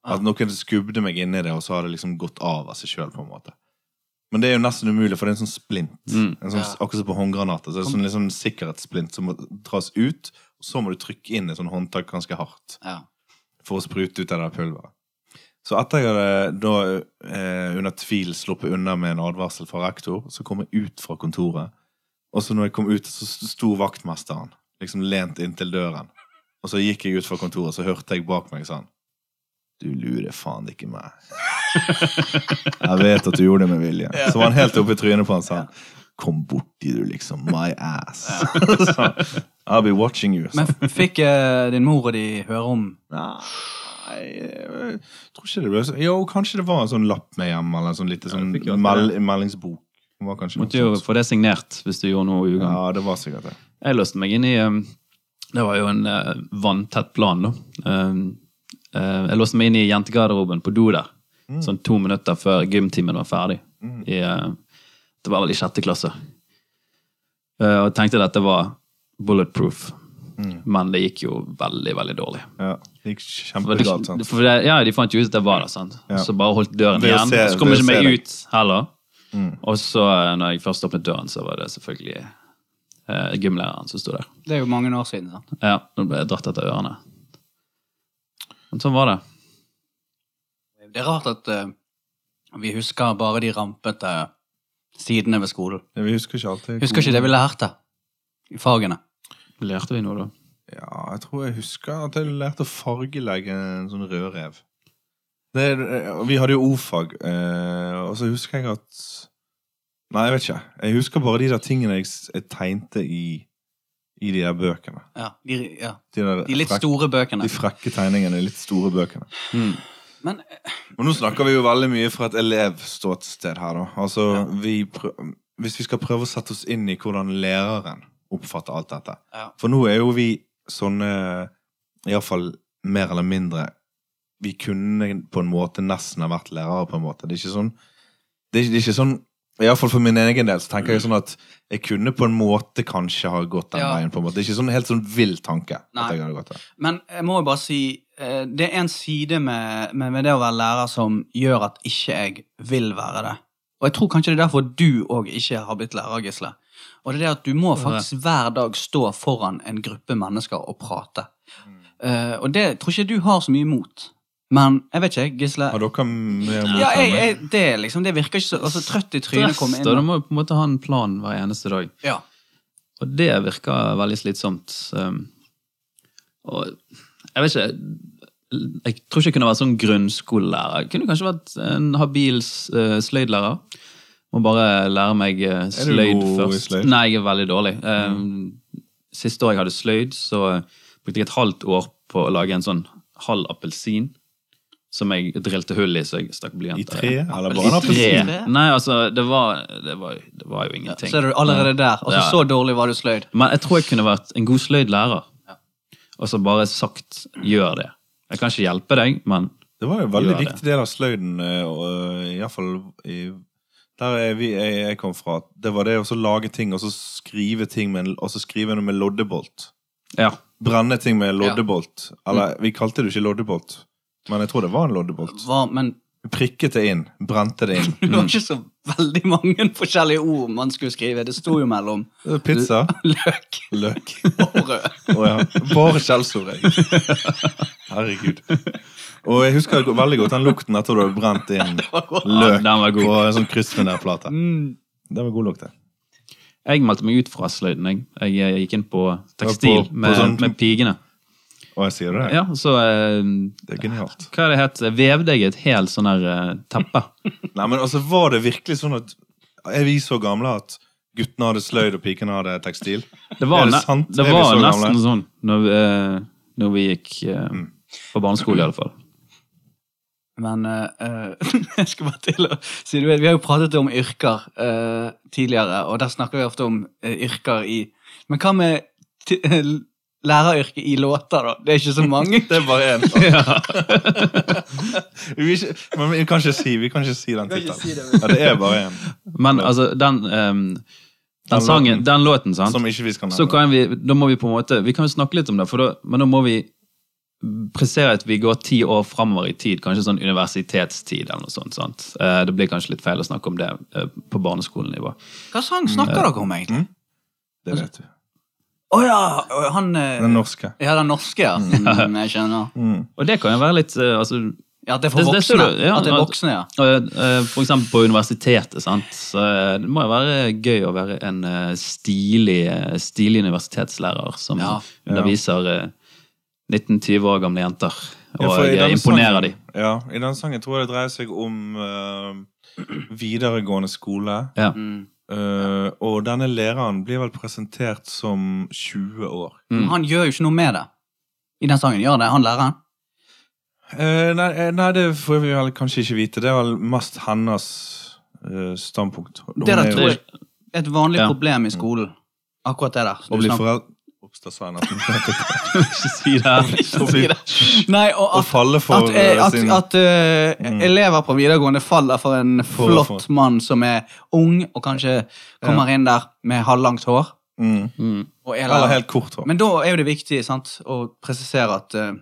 S2: At noen skubde meg inn i det, og så har det liksom gått av av seg sjøl. Men det er jo nesten umulig, for det er en sånn splint.
S3: Mm.
S2: En sånn,
S1: Ja.
S2: Akkurat som på håndgranater. Så det er sånn, liksom, sikkerhetssplint som må dras ut, og så må du trykke inn et sånn håndtak ganske hardt
S1: Ja.
S2: for å sprute ut av det der pulveret. Så etter jeg hadde da eh, under tvil sluppet unna med en advarsel fra rektor, så kom jeg ut fra kontoret. Og så når jeg kom ut, så sto vaktmesteren liksom lent inntil døren. Og så gikk jeg ut fra kontoret, så hørte jeg bak meg sånn Du lurer faen ikke meg. Jeg vet at du gjorde det med vilje. Så var han helt oppe i trynet på han sa han, Kom borti, du, liksom. My ass. Så, I'll be watching you. Så.
S1: Men f- fikk eh, din mor og de høre om
S2: Nei, jeg tror ikke det ble så Jo, kanskje det var en sånn lapp med hjem, eller en sånn lite sånn
S3: fikk jo alltid
S2: mel meldingsbok. Det var kanskje
S3: Måtte jo
S2: noe sånt.
S3: få det signert hvis du gjorde noe ugagn.
S2: Ja, det var sikkert det.
S3: Jeg låste meg inn i um, Det var jo en eh, vanntett plan, da. Um, eh, jeg låste meg inn i jentegarderoben på do der.
S2: Mm.
S3: Sånn to minutter før gymtimen var ferdig. I, eh, det var vel i sjette klasse. Eh, og tenkte dette var bulletproof.
S2: Mm.
S3: Men det gikk jo veldig, veldig dårlig.
S2: Ja, det gikk
S3: For det,
S2: kjempegalt, sant.
S3: for det, ja, De fant jo ut at jeg var der, sant?
S2: Ja.
S3: så bare holdt døren
S2: Ved å
S3: igjen.
S2: se-
S3: så kom
S2: ved å
S3: jeg ikke
S2: se Mm.
S3: meg
S2: deg.
S3: ut heller. Og så, eh, når jeg først åpnet døren, så var det selvfølgelig eh, gymlæreren som sto der.
S1: Det er jo mange år siden. sant?
S3: Ja, nå ble jeg dratt etter ørene. Men sånn var det.
S1: Det er rart at eh, vi husker bare de rampete eh, sidene ved skolen.
S2: Ja, vi husker ikke alltid
S1: Husker ikke det vi lærte i fagene.
S3: Lærte vi noe, da?
S2: Ja, jeg tror jeg husker at jeg lærte å fargelegge en sånn rødrev. Det, er- vi hadde jo ordfag, eh, og så husker jeg at Nei, jeg vet ikke. Jeg husker bare de der tingene jeg, s- jeg tegnte i, i de der bøkene.
S1: Ja, de, ja.
S2: De, der
S1: de litt
S2: frekke-
S1: store bøkene.
S2: de frekke tegningene i litt store bøkene.
S3: Mm.
S1: Men
S2: Men nå snakker vi jo veldig mye fra et elevståsted her, da. Altså, vi prø- hvis vi skal prøve å sette oss inn i hvordan læreren oppfatter alt dette.
S1: Ja.
S2: For nå er jo vi sånne Iallfall mer eller mindre Vi kunne på en måte nesten ha vært lærere, på en måte. Det er ikke sånn det er, ikke- det er ikke sånn Iallfall for min egen del så tenker jeg sånn at jeg kunne på en måte kanskje ha gått den
S1: Ja.
S2: veien. på en måte Det er ikke sånn helt sånn vill tanke.
S1: Nei.
S2: at jeg hadde gått der.
S1: Men jeg må jo bare si eh, Det er en side med, med, med det å være lærer som gjør at ikke jeg vil være det. Og jeg tror kanskje det er derfor du òg ikke har blitt lærer, Gisle. Og det er det at du må faktisk hver dag stå foran en gruppe mennesker og prate. Eh, og det tror ikke du har så mye mot. Men jeg vet ikke, Gisle.
S2: Har dere mer mot
S1: Ja, jeg,
S2: enn meg?
S1: jeg, det, er liksom, det virker ikke så altså, Trøtt i trynet
S3: Stress,
S1: komme
S3: da. Du
S1: inn. og-
S3: må jo på en måte ha en plan hver eneste dag.
S1: Ja.
S3: Og det virker veldig slitsomt. Um, og jeg vet ikke Jeg tror ikke jeg kunne vært sånn grunnskolelærer. Jeg kunne kanskje vært en habil s- eh, sløydlærer. Må bare lære meg eh,
S2: du
S3: sløyd
S2: god i
S3: først.
S2: sløyd? Mm.
S3: Nei, jeg er veldig dårlig. Um, Siste år jeg eh, hadde sløyd, så brukte jeg et halvt år på å lage en sånn halv appelsin. Som jeg drilte hull i, så jeg stakk
S2: I
S3: blyanter
S2: tre?
S1: Eller
S2: Eller bare
S1: i
S2: en
S1: tre.
S2: appelsin?
S1: Tre?
S3: Nei, altså, det var, det var, det var jo ingenting.
S1: Så er du allerede der. Altså,
S3: Ja.
S1: Så dårlig var du sløyd.
S3: Men jeg tror jeg kunne vært en god sløyd lærer. Og så bare sagt 'gjør det'. Jeg kan ikke hjelpe deg, men
S2: Det var jo en veldig
S3: Gjør det.
S2: viktig del av sløyden, eh, og, eh, i hvert fall i, der er vi, jeg, jeg kom fra. Det var det å så lage ting, og så skrive ting med, en- og så skrive noe med loddebolt.
S3: ja.
S2: Brenne ting med loddebolt. Eller,
S1: Mm.
S2: vi kalte det jo ikke loddebolt, men jeg tror det var en loddebolt.
S1: Hva, men
S2: Vi Prikket det inn, brente det inn.
S1: det var ikke så veldig mange forskjellige ord man skulle skrive. Det sto jo mellom
S2: Eh, Pizza,
S1: løk
S2: løk.
S1: og rød.
S2: Å ja. Bare skjellsord, jeg. Herregud. Og jeg husker veldig godt den lukten etter du hadde brent inn
S1: Det var godt.
S3: ja,
S2: løk
S3: den var god.
S2: på en sånn kryssfinærplate.
S1: Mm.
S2: Det var god lukt, det.
S3: Jeg meldte meg ut fra sløyden. Jeg, jeg, jeg gikk inn på tekstil
S2: Ja, på- på
S3: med,
S2: sånn-
S3: med pigene.
S2: Og jeg sier det.
S3: Ja, og så eh,
S2: Det er genialt.
S3: Hva er det het? Vevde jeg et helt sånn her eh, teppe?
S2: Nei, men altså, var det virkelig sånn at Er vi så gamle at guttene hadde sløyd og pikene hadde tekstil?
S3: Det var,
S2: Er det
S3: ne-
S2: sant?
S3: Det
S2: Er vi
S3: var
S2: så
S3: nesten
S2: gamle? Mm.
S3: sånn når vi, eh, når vi gikk eh, på barneskole, i alle fall.
S1: Men eh, eh, jeg skal bare til å si du vet, Vi har jo pratet om yrker eh, tidligere, og der snakker vi ofte om eh, yrker i Men hva med t læreryrket i låter, da? Det er ikke så mange.
S2: Det er bare én.
S3: Ja.
S2: Vi, ikke- men vi kan ikke si, vi kan ikke si den
S1: Kan ikke si det,
S2: tittelen.
S1: men-
S2: Ja, det er bare én
S3: Men altså, den, eh,
S2: Den
S3: den sangen,
S2: låten.
S3: den låten, sant?
S2: som ikke vi skal
S3: Så
S2: nevne.
S3: kan vi, da må vi på en måte Vi kan jo snakke litt om det, for da, men da må vi prestere at vi går ti år framover i tid, kanskje sånn universitetstid eller noe sånt. sant? Eh, Det blir kanskje litt feil å snakke om det eh, på barneskolenivå.
S1: Hva sang snakker dere om, egentlig?
S2: Det vet du.
S1: Mm. Å ja! og Han eh,
S2: Den norske.
S1: Ja, den norske, ja. Mm, jeg skjønner.
S2: Mm.
S3: Og det kan jo være litt eh, altså,
S1: Ja, at det er for
S3: Det- det ser
S1: voksne.
S3: du, ja,
S1: At det er
S3: at-
S1: voksne, ja.
S3: eh, eh, For eksempel på universitetet, sant. Så eh, det må jo være gøy å være en eh, stilig, eh, stilig universitetslærer som
S1: Ja.
S3: underviser eh, 19-20 år gamle jenter, og
S2: Ja, for i
S3: eh,
S2: denne
S3: imponerer
S2: sangen- Ja, I den sangen tror jeg det dreier seg om eh, videregående skole.
S3: de. Ja.
S1: Mm.
S2: eh, og denne læreren blir vel presentert som 20 år.
S1: Men
S3: Mm.
S1: Han gjør jo ikke noe med det i den sangen. Gjør det, han læreren?
S2: Eh, nei, eh, nei, det får vi vel kanskje ikke vite. Det er vel mest hennes eh, standpunkt.
S1: Det
S2: Hun
S1: der
S2: er jo- Mm.
S1: tror jeg er et vanlig
S3: Ja.
S1: problem i skolen. Akkurat det der.
S2: Å
S1: du
S2: bli
S1: snakker-
S2: foreldre Ops, da sa jeg nesten.
S3: Ikke si det.
S2: Å bli-
S1: Nei, og
S2: Å
S1: at
S2: falle for
S1: At, eh,
S2: eh,
S1: at,
S2: sin
S1: at eh,
S2: Mm.
S1: elever på videregående faller for en
S2: For-
S1: flott mann som er ung, og kanskje kommer inn der med halvlangt hår.
S2: mm,
S3: Mm.
S1: Og er
S2: Eller
S1: lærer.
S2: helt kort hår.
S1: Men da er jo det viktig sant, å presisere at eh,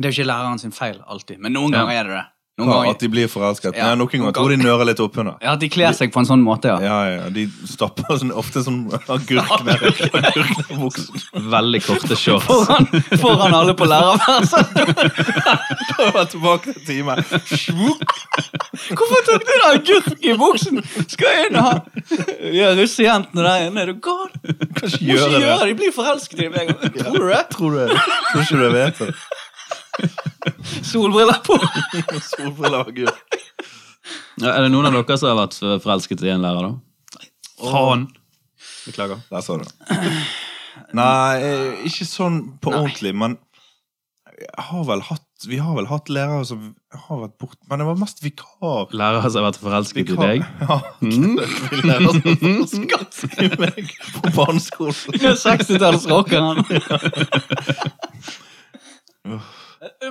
S1: det er jo ikke læreren sin feil alltid, men noen
S3: Ja.
S1: ganger er det det. Noen
S2: Ja,
S1: ganger,
S2: at de blir forelsket.
S1: Ja,
S2: Nei, noen
S1: noen
S2: ganger tror de nører litt oppunder.
S1: ja, at de kler seg på en sånn måte, ja.
S2: Ja, ja, de stapper sånn, ofte sånn agurk ned agurk ned i buksen.
S3: Veldig korte shorts.
S1: Foran, foran alle på lærerværelset.
S2: Jeg var tilbake til time.
S1: Hvorfor tok du deg agurk i buksen? Skal jeg inn og ha de her russejentene der inne? Er du gal?
S2: Kanskje
S1: Må ikke
S2: gjøre det.
S1: gjøre det, de blir forelsket i meg. Tror du det?
S2: Tror du Tror ikke du vet det.
S1: Solbriller på.
S2: Solbriller og agurk.
S3: Ja, Er det noen av dere som har vært forelsket i en lærer, da? Faen! Beklager.
S2: Der sa du det. Nei, eh, ikke sånn på ordentlig, men jeg har vel hatt, vi har vel hatt lærere som har vært borte, men det var mest vikar.
S3: Lærere som har vært forelsket i deg?
S2: Ja, vi lærer som forelsket i meg på barneskolen.
S1: 60-tallsrockeren.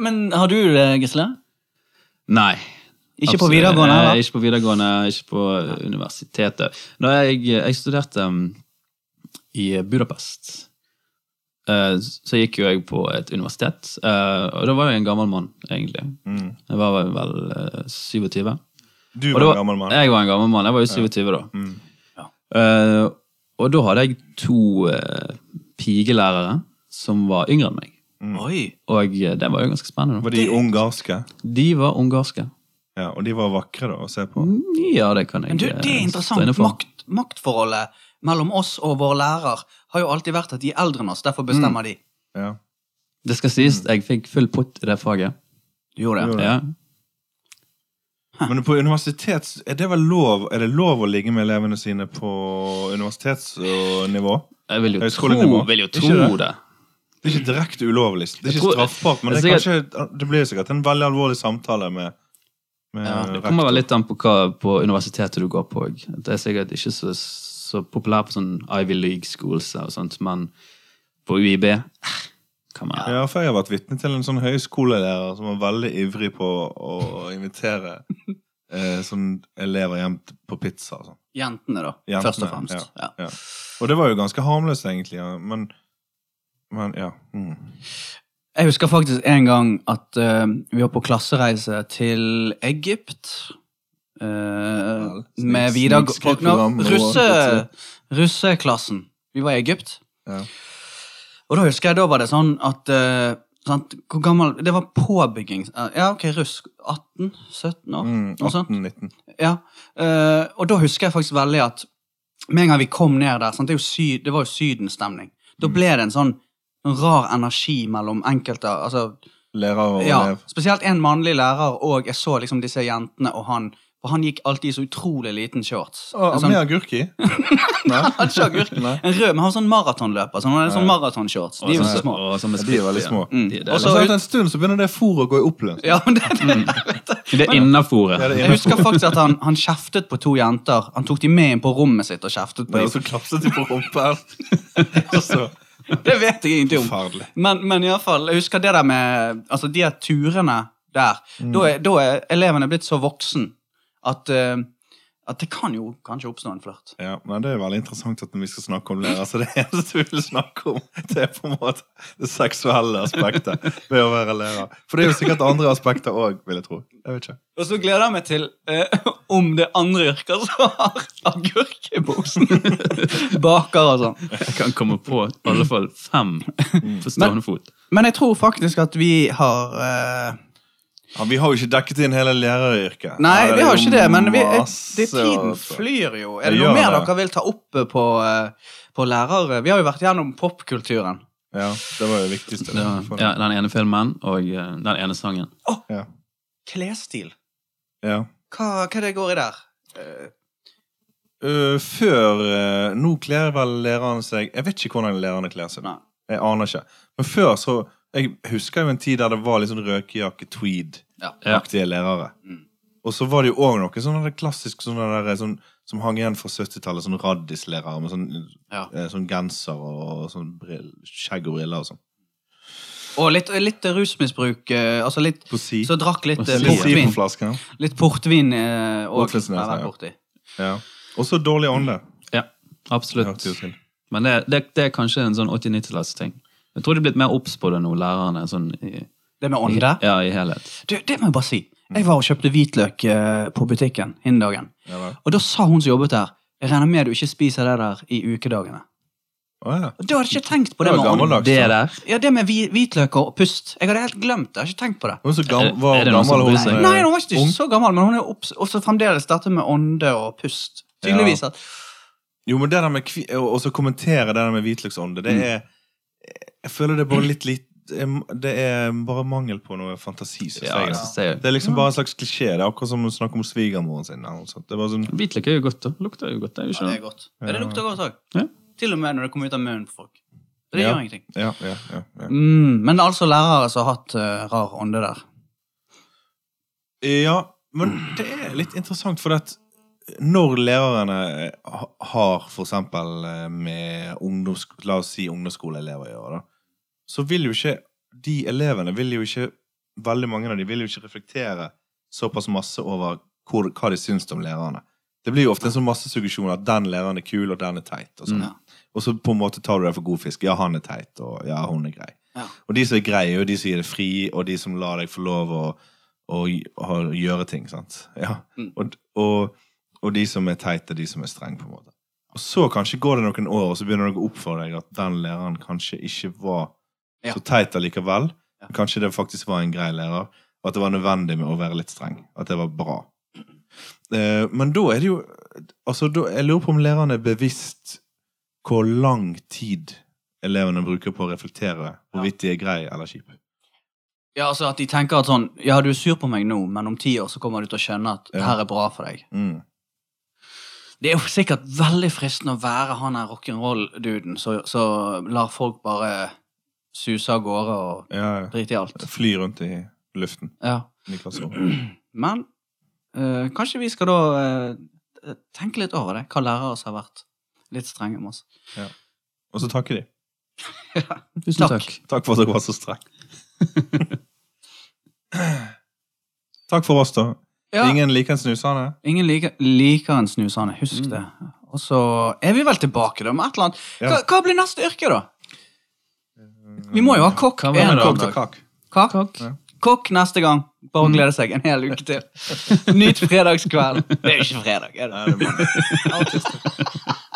S1: Men har du det, Gisle?
S3: Nei.
S1: Ikke på
S3: absolutt-
S1: videregående?
S3: eh,
S1: Eller?
S3: Ikke på videregående, ikke på eh, universitetet. Da jeg, jeg studerte mm, i Budapest, eh, så gikk jo jeg på et universitet. eh, Og da var jeg en gammel mann, egentlig.
S2: Mm.
S3: Jeg var vel- vel eh, 27.
S2: Du
S3: Og
S2: var
S3: da-
S2: en gammel mann.
S3: Jeg var en gammel mann. Jeg var jo 27 da.
S2: Mm.
S3: Eh, og da hadde jeg to eh, pigelærere som var yngre enn meg.
S1: Oi.
S3: Og eh, det var jo ganske spennende.
S2: Mm. Var de ungarske?
S3: da. De var ungarske.
S2: Ja, og de var vakre da, å se på.
S3: Mm, Ja, det kan jeg
S1: Men du,
S3: eh,
S1: det er
S3: stå inne
S1: interessant.
S3: for.
S1: Makt, maktforholdet mellom oss og vår lærer har jo alltid vært at de er eldre enn oss. Derfor bestemmer de.
S2: Ja.
S3: Det skal sies, jeg fikk full pott i det faget.
S1: Du gjorde
S2: Mm. det.
S1: det.
S3: Ja.
S2: Men på universitet, er det vel lov, er det lov å ligge med elevene sine på universitetsnivå?
S3: Jeg vil jo
S2: Høyskolenivå.
S3: tro, vil jo
S2: Ikke
S3: tro det.
S2: Det er ikke direkte ulovlig. Det er
S3: Jeg
S2: ikke
S3: tror-
S2: straffbart, men det, er
S3: jeg
S2: kanskje, det blir sikkert en veldig alvorlig samtale med, med
S3: Ja, det
S2: rektor.
S3: kommer vel litt an på hva på universitetet du går på òg. Det er sikkert ikke så, så populært på sånn Ivy League schools og sånt, men på UiB
S1: Ah.
S3: eh, kan man
S2: Ja, for jeg har vært vitne til en sånn høyskolelærer som var veldig ivrig på å å invitere eh, sånn elever hjem t- på pizza. Og, sånn.
S1: Jentene, da.
S2: Jentene,
S1: først og fremst. Ja.
S2: og det var jo ganske harmløst, egentlig. Ja. Men, men ja. Mm.
S1: Jeg husker faktisk en gang at eh, vi var på klassereise til Egypt. eh,
S2: snik-
S1: med videregå...
S2: snikskryt-
S1: Nå,
S2: program og-
S1: Russe, russeklassen. Vi var i Egypt.
S2: Ja.
S1: Og da husker jeg, da var det sånn at eh, sant, Hvor gammel Det var påbygging. Ja, ok, russ. 18? 17 år?
S2: Mm,
S1: Noe sånt.
S2: 18-19.
S1: Ja, eh, og da husker jeg faktisk veldig at med en gang vi kom ned der, sant, det, er jo sy det var jo sydenstemning,
S2: Mm.
S1: da ble det en sånn rar energi mellom enkelte, altså,
S2: Lærer og
S1: ja,
S2: elev.
S1: spesielt en mannlig lærer, og jeg så liksom disse jentene og han, for han gikk alltid i så utrolig liten shorts.
S2: Å,
S1: En
S2: Med
S1: sånn,
S2: agurk i? Nei.
S1: han så agurk.
S2: Nei.
S1: en rød, men han var sånn maratonløper, så han hadde sånn
S2: Ja.
S1: maratonshorts,
S3: Og
S1: de er jo
S3: sånn-
S1: så små.
S3: og sånn med
S2: Ja, de er veldig
S3: splitt,
S2: små.
S3: ja.
S1: Mm.
S3: De, det
S1: Og
S3: er,
S1: så-
S2: Så etter en stund så begynner det fôret å gå i oppløsning.
S1: Ja, men det, det,
S3: litt- det er innafore.
S2: Ja, det Mm. er
S1: jeg husker faktisk at han, han kjeftet på to jenter, han tok de med inn på rommet sitt og kjeftet på
S2: Og
S1: dem.
S2: så klapset de på rumpen. Og så
S1: Det vet jeg ingenting om.
S2: Altså, Forferdelig.
S1: Men, men i alle fall, jeg husker det der med altså de her turene der.
S2: Mm.
S1: Da, er, da er elevene blitt så voksen at, eh, at det kan jo kanskje oppstå en flørt.
S2: Ja, men Det er veldig interessant at når vi skal snakke om lærer, så det eneste vi vil snakke om, det er på en måte det seksuelle aspektet ved å være lærer. For det er jo sikkert andre aspekter òg, vil jeg tro. Jeg vet ikke.
S1: Og så gleder jeg meg til eh, om det er andre yrker som har agurk i buksen. Baker og sånn.
S3: Jeg kan komme på i alle fall fem
S2: Mm.
S3: på stående fot.
S1: Men jeg tror faktisk at vi har eh,
S2: Ja, vi har jo ikke dekket inn hele læreryrket.
S1: Nei,
S2: Her er
S1: vi har
S2: jo
S1: ikke det, men vi, jeg,
S2: masse
S1: det, tiden
S2: å-
S1: flyr jo.
S2: Det
S1: Er det noe
S2: gjør
S1: mer
S2: det.
S1: dere vil ta opp eh, på, eh, på lærere? Vi har jo vært gjennom popkulturen.
S2: Ja, det var jo det viktigste.
S3: Det var, ja, den ene filmen og eh, den ene sangen.
S2: ja.
S1: Klesstil.
S2: ja.
S1: Hva, hva er det går i der? Eh,
S2: Øh, før øh, Nå kler vel lærerne seg Jeg vet ikke hvordan lærerne kler seg.
S1: Nei.
S2: Jeg aner ikke. Men før så Jeg husker jo en tid der det var litt sånn røkejakke-tweed-aktige
S1: ja.
S3: Ja.
S2: lærere.
S1: Mm.
S2: Og så var det jo òg noe sånn der klassisk sånn der, sånn, som hang igjen fra 70-tallet. Sånn raddislærere med sånn,
S1: Ja.
S2: eh, sånn genser og, sånn brill, skjegg og briller og sånn.
S1: Og litt, litt rusmisbruk. eh, Altså litt,
S2: På si.
S1: så drakk litt eh,
S3: På si
S1: portvin.
S2: på flasken.
S1: Litt portvin eh, og
S2: Portvin, sånn
S1: Nei, vær
S2: ja.
S1: borti.
S2: Ja. Og så dårlig ånde.
S3: Ja,
S1: Mm.
S2: Det
S3: absolutt.
S2: hørte jo til.
S3: Men det, det, det er kanskje en sånn 80-90-tallsting. Jeg tror de er blitt mer obs på det nå, lærerne. sånn i...
S1: Det med ånde.
S3: Ja, i helhet.
S1: Du, det må jeg bare si. Jeg var og kjøpte hvitløk eh, på butikken innen dagen.
S2: Ja, vel.
S1: Og da sa hun som jobbet der, jeg regner med du ikke spiser det der i ukedagene.
S2: Å, ja.
S1: Og da hadde jeg ikke tenkt på det,
S2: Det var
S1: med ånde.
S2: gammeldags.
S3: Det der.
S1: Ja, det med hvi- hvitløk og pust. Jeg hadde helt glemt det. Jeg har ikke tenkt på det.
S2: Hun så gam,
S3: Er det-
S2: var
S3: er det noen som
S2: gammel
S3: bryr
S2: hun
S3: seg?
S2: eh,
S1: Nei, hun var ikke
S2: ung.
S1: så gammel, men hun er jo obs- også fremdeles dette med ånde og pust. Tydeligvis at
S2: Jo, men det der med kvi- å å så kommentere det der med hvitløksånde, det
S1: Mm.
S2: er Jeg føler det er bare litt litt Det er bare mangel på noe fantasi, synes
S3: Ja,
S2: jeg.
S3: jeg synes det er-
S2: Det er liksom bare en slags klisjé. Det er akkurat som å snakke om svigermoren sin. Eller noe sånt. Det er bare sånn
S3: Hvitløk er jo godt, da. Lukter jo godt. Det er jo
S1: Ja,
S3: ikke
S1: det er
S3: noe.
S1: godt. Ja, det lukter godt òg.
S3: Ja.
S1: Til og med når det kommer ut av munnen på folk. Det
S2: Ja.
S1: gjør ingenting.
S2: Ja, ja, ja. ja.
S1: Mm, men altså lærere som har hatt eh, rar ånde der.
S2: ja men det er litt interessant, for at når lærerne ha- har for eksempel eh, med ungdoms, la oss si ungdomsskoleelever å gjøre, da, så vil jo ikke de elevene vil jo ikke, Veldig mange av de vil jo ikke reflektere såpass masse over hvor, hva de syns om lærerne. Det blir jo ofte en sånn massesuggesjon at den læreren er kul, og den er teit. Og, sånn.
S1: Ja.
S2: og så på en måte tar du det for god fisk. Ja, han er teit, og ja, hun er grei.
S1: Ja.
S2: Og de som er greie, og de som gir deg fri, og de som lar deg få lov å, å, å gjøre ting. sant? Ja.
S1: Mm.
S2: Og, og, og de som er teite, de som er strenge, på en måte. Og så kanskje går det noen år, og så begynner det å gå opp for deg at den læreren kanskje ikke var
S1: Ja.
S2: så teit allikevel.
S1: Ja.
S2: Kanskje det faktisk var en grei lærer, og at det var nødvendig med å være litt streng. At det var bra. Eh, men da er det jo altså, da, Jeg lurer på om lærerne er bevisst hvor lang tid elevene bruker på å reflektere hvorvidt de er greie eller kjipe.
S1: Ja, altså At de tenker at sånn Ja, du er sur på meg nå, men om ti år så kommer du til å skjønne at
S2: Ja.
S1: det her er bra for deg.
S2: Mm.
S1: Det er jo sikkert veldig fristende å være han her rock'n'roll-duden som som lar folk bare suser av gårde og
S2: Ja, ja.
S1: driter i alt.
S2: Fly rundt i luften
S1: Ja.
S2: i klasserommet.
S1: Men eh, kanskje vi skal da eh, tenke litt over det, hva lærere som har vært litt strenge med oss.
S2: Og så takker de.
S3: Tusen takk.
S2: Takk for at dere var så streng. Takk for oss, da.
S1: Ja, ingen
S2: Ingen liker en snusende.
S1: liker, liker en snusende, husk
S3: Mm.
S1: det. Og så er vi vel tilbake da med et eller annet.
S2: Ja. Eh,
S1: Hva, hva blir neste yrke, da? Vi må jo ha kokk
S3: Hva var
S1: en
S3: det da?
S1: gang.
S2: Kokk til kakk.
S1: Kakk?
S3: Kakk.
S2: Ja.
S1: Kokk neste gang.
S3: Mm.
S1: Bare glede seg en hel uke til. Nyt fredagskvelden. Det er jo ikke fredag, er det?
S2: Nei, det er mandag.
S1: Alt er stort.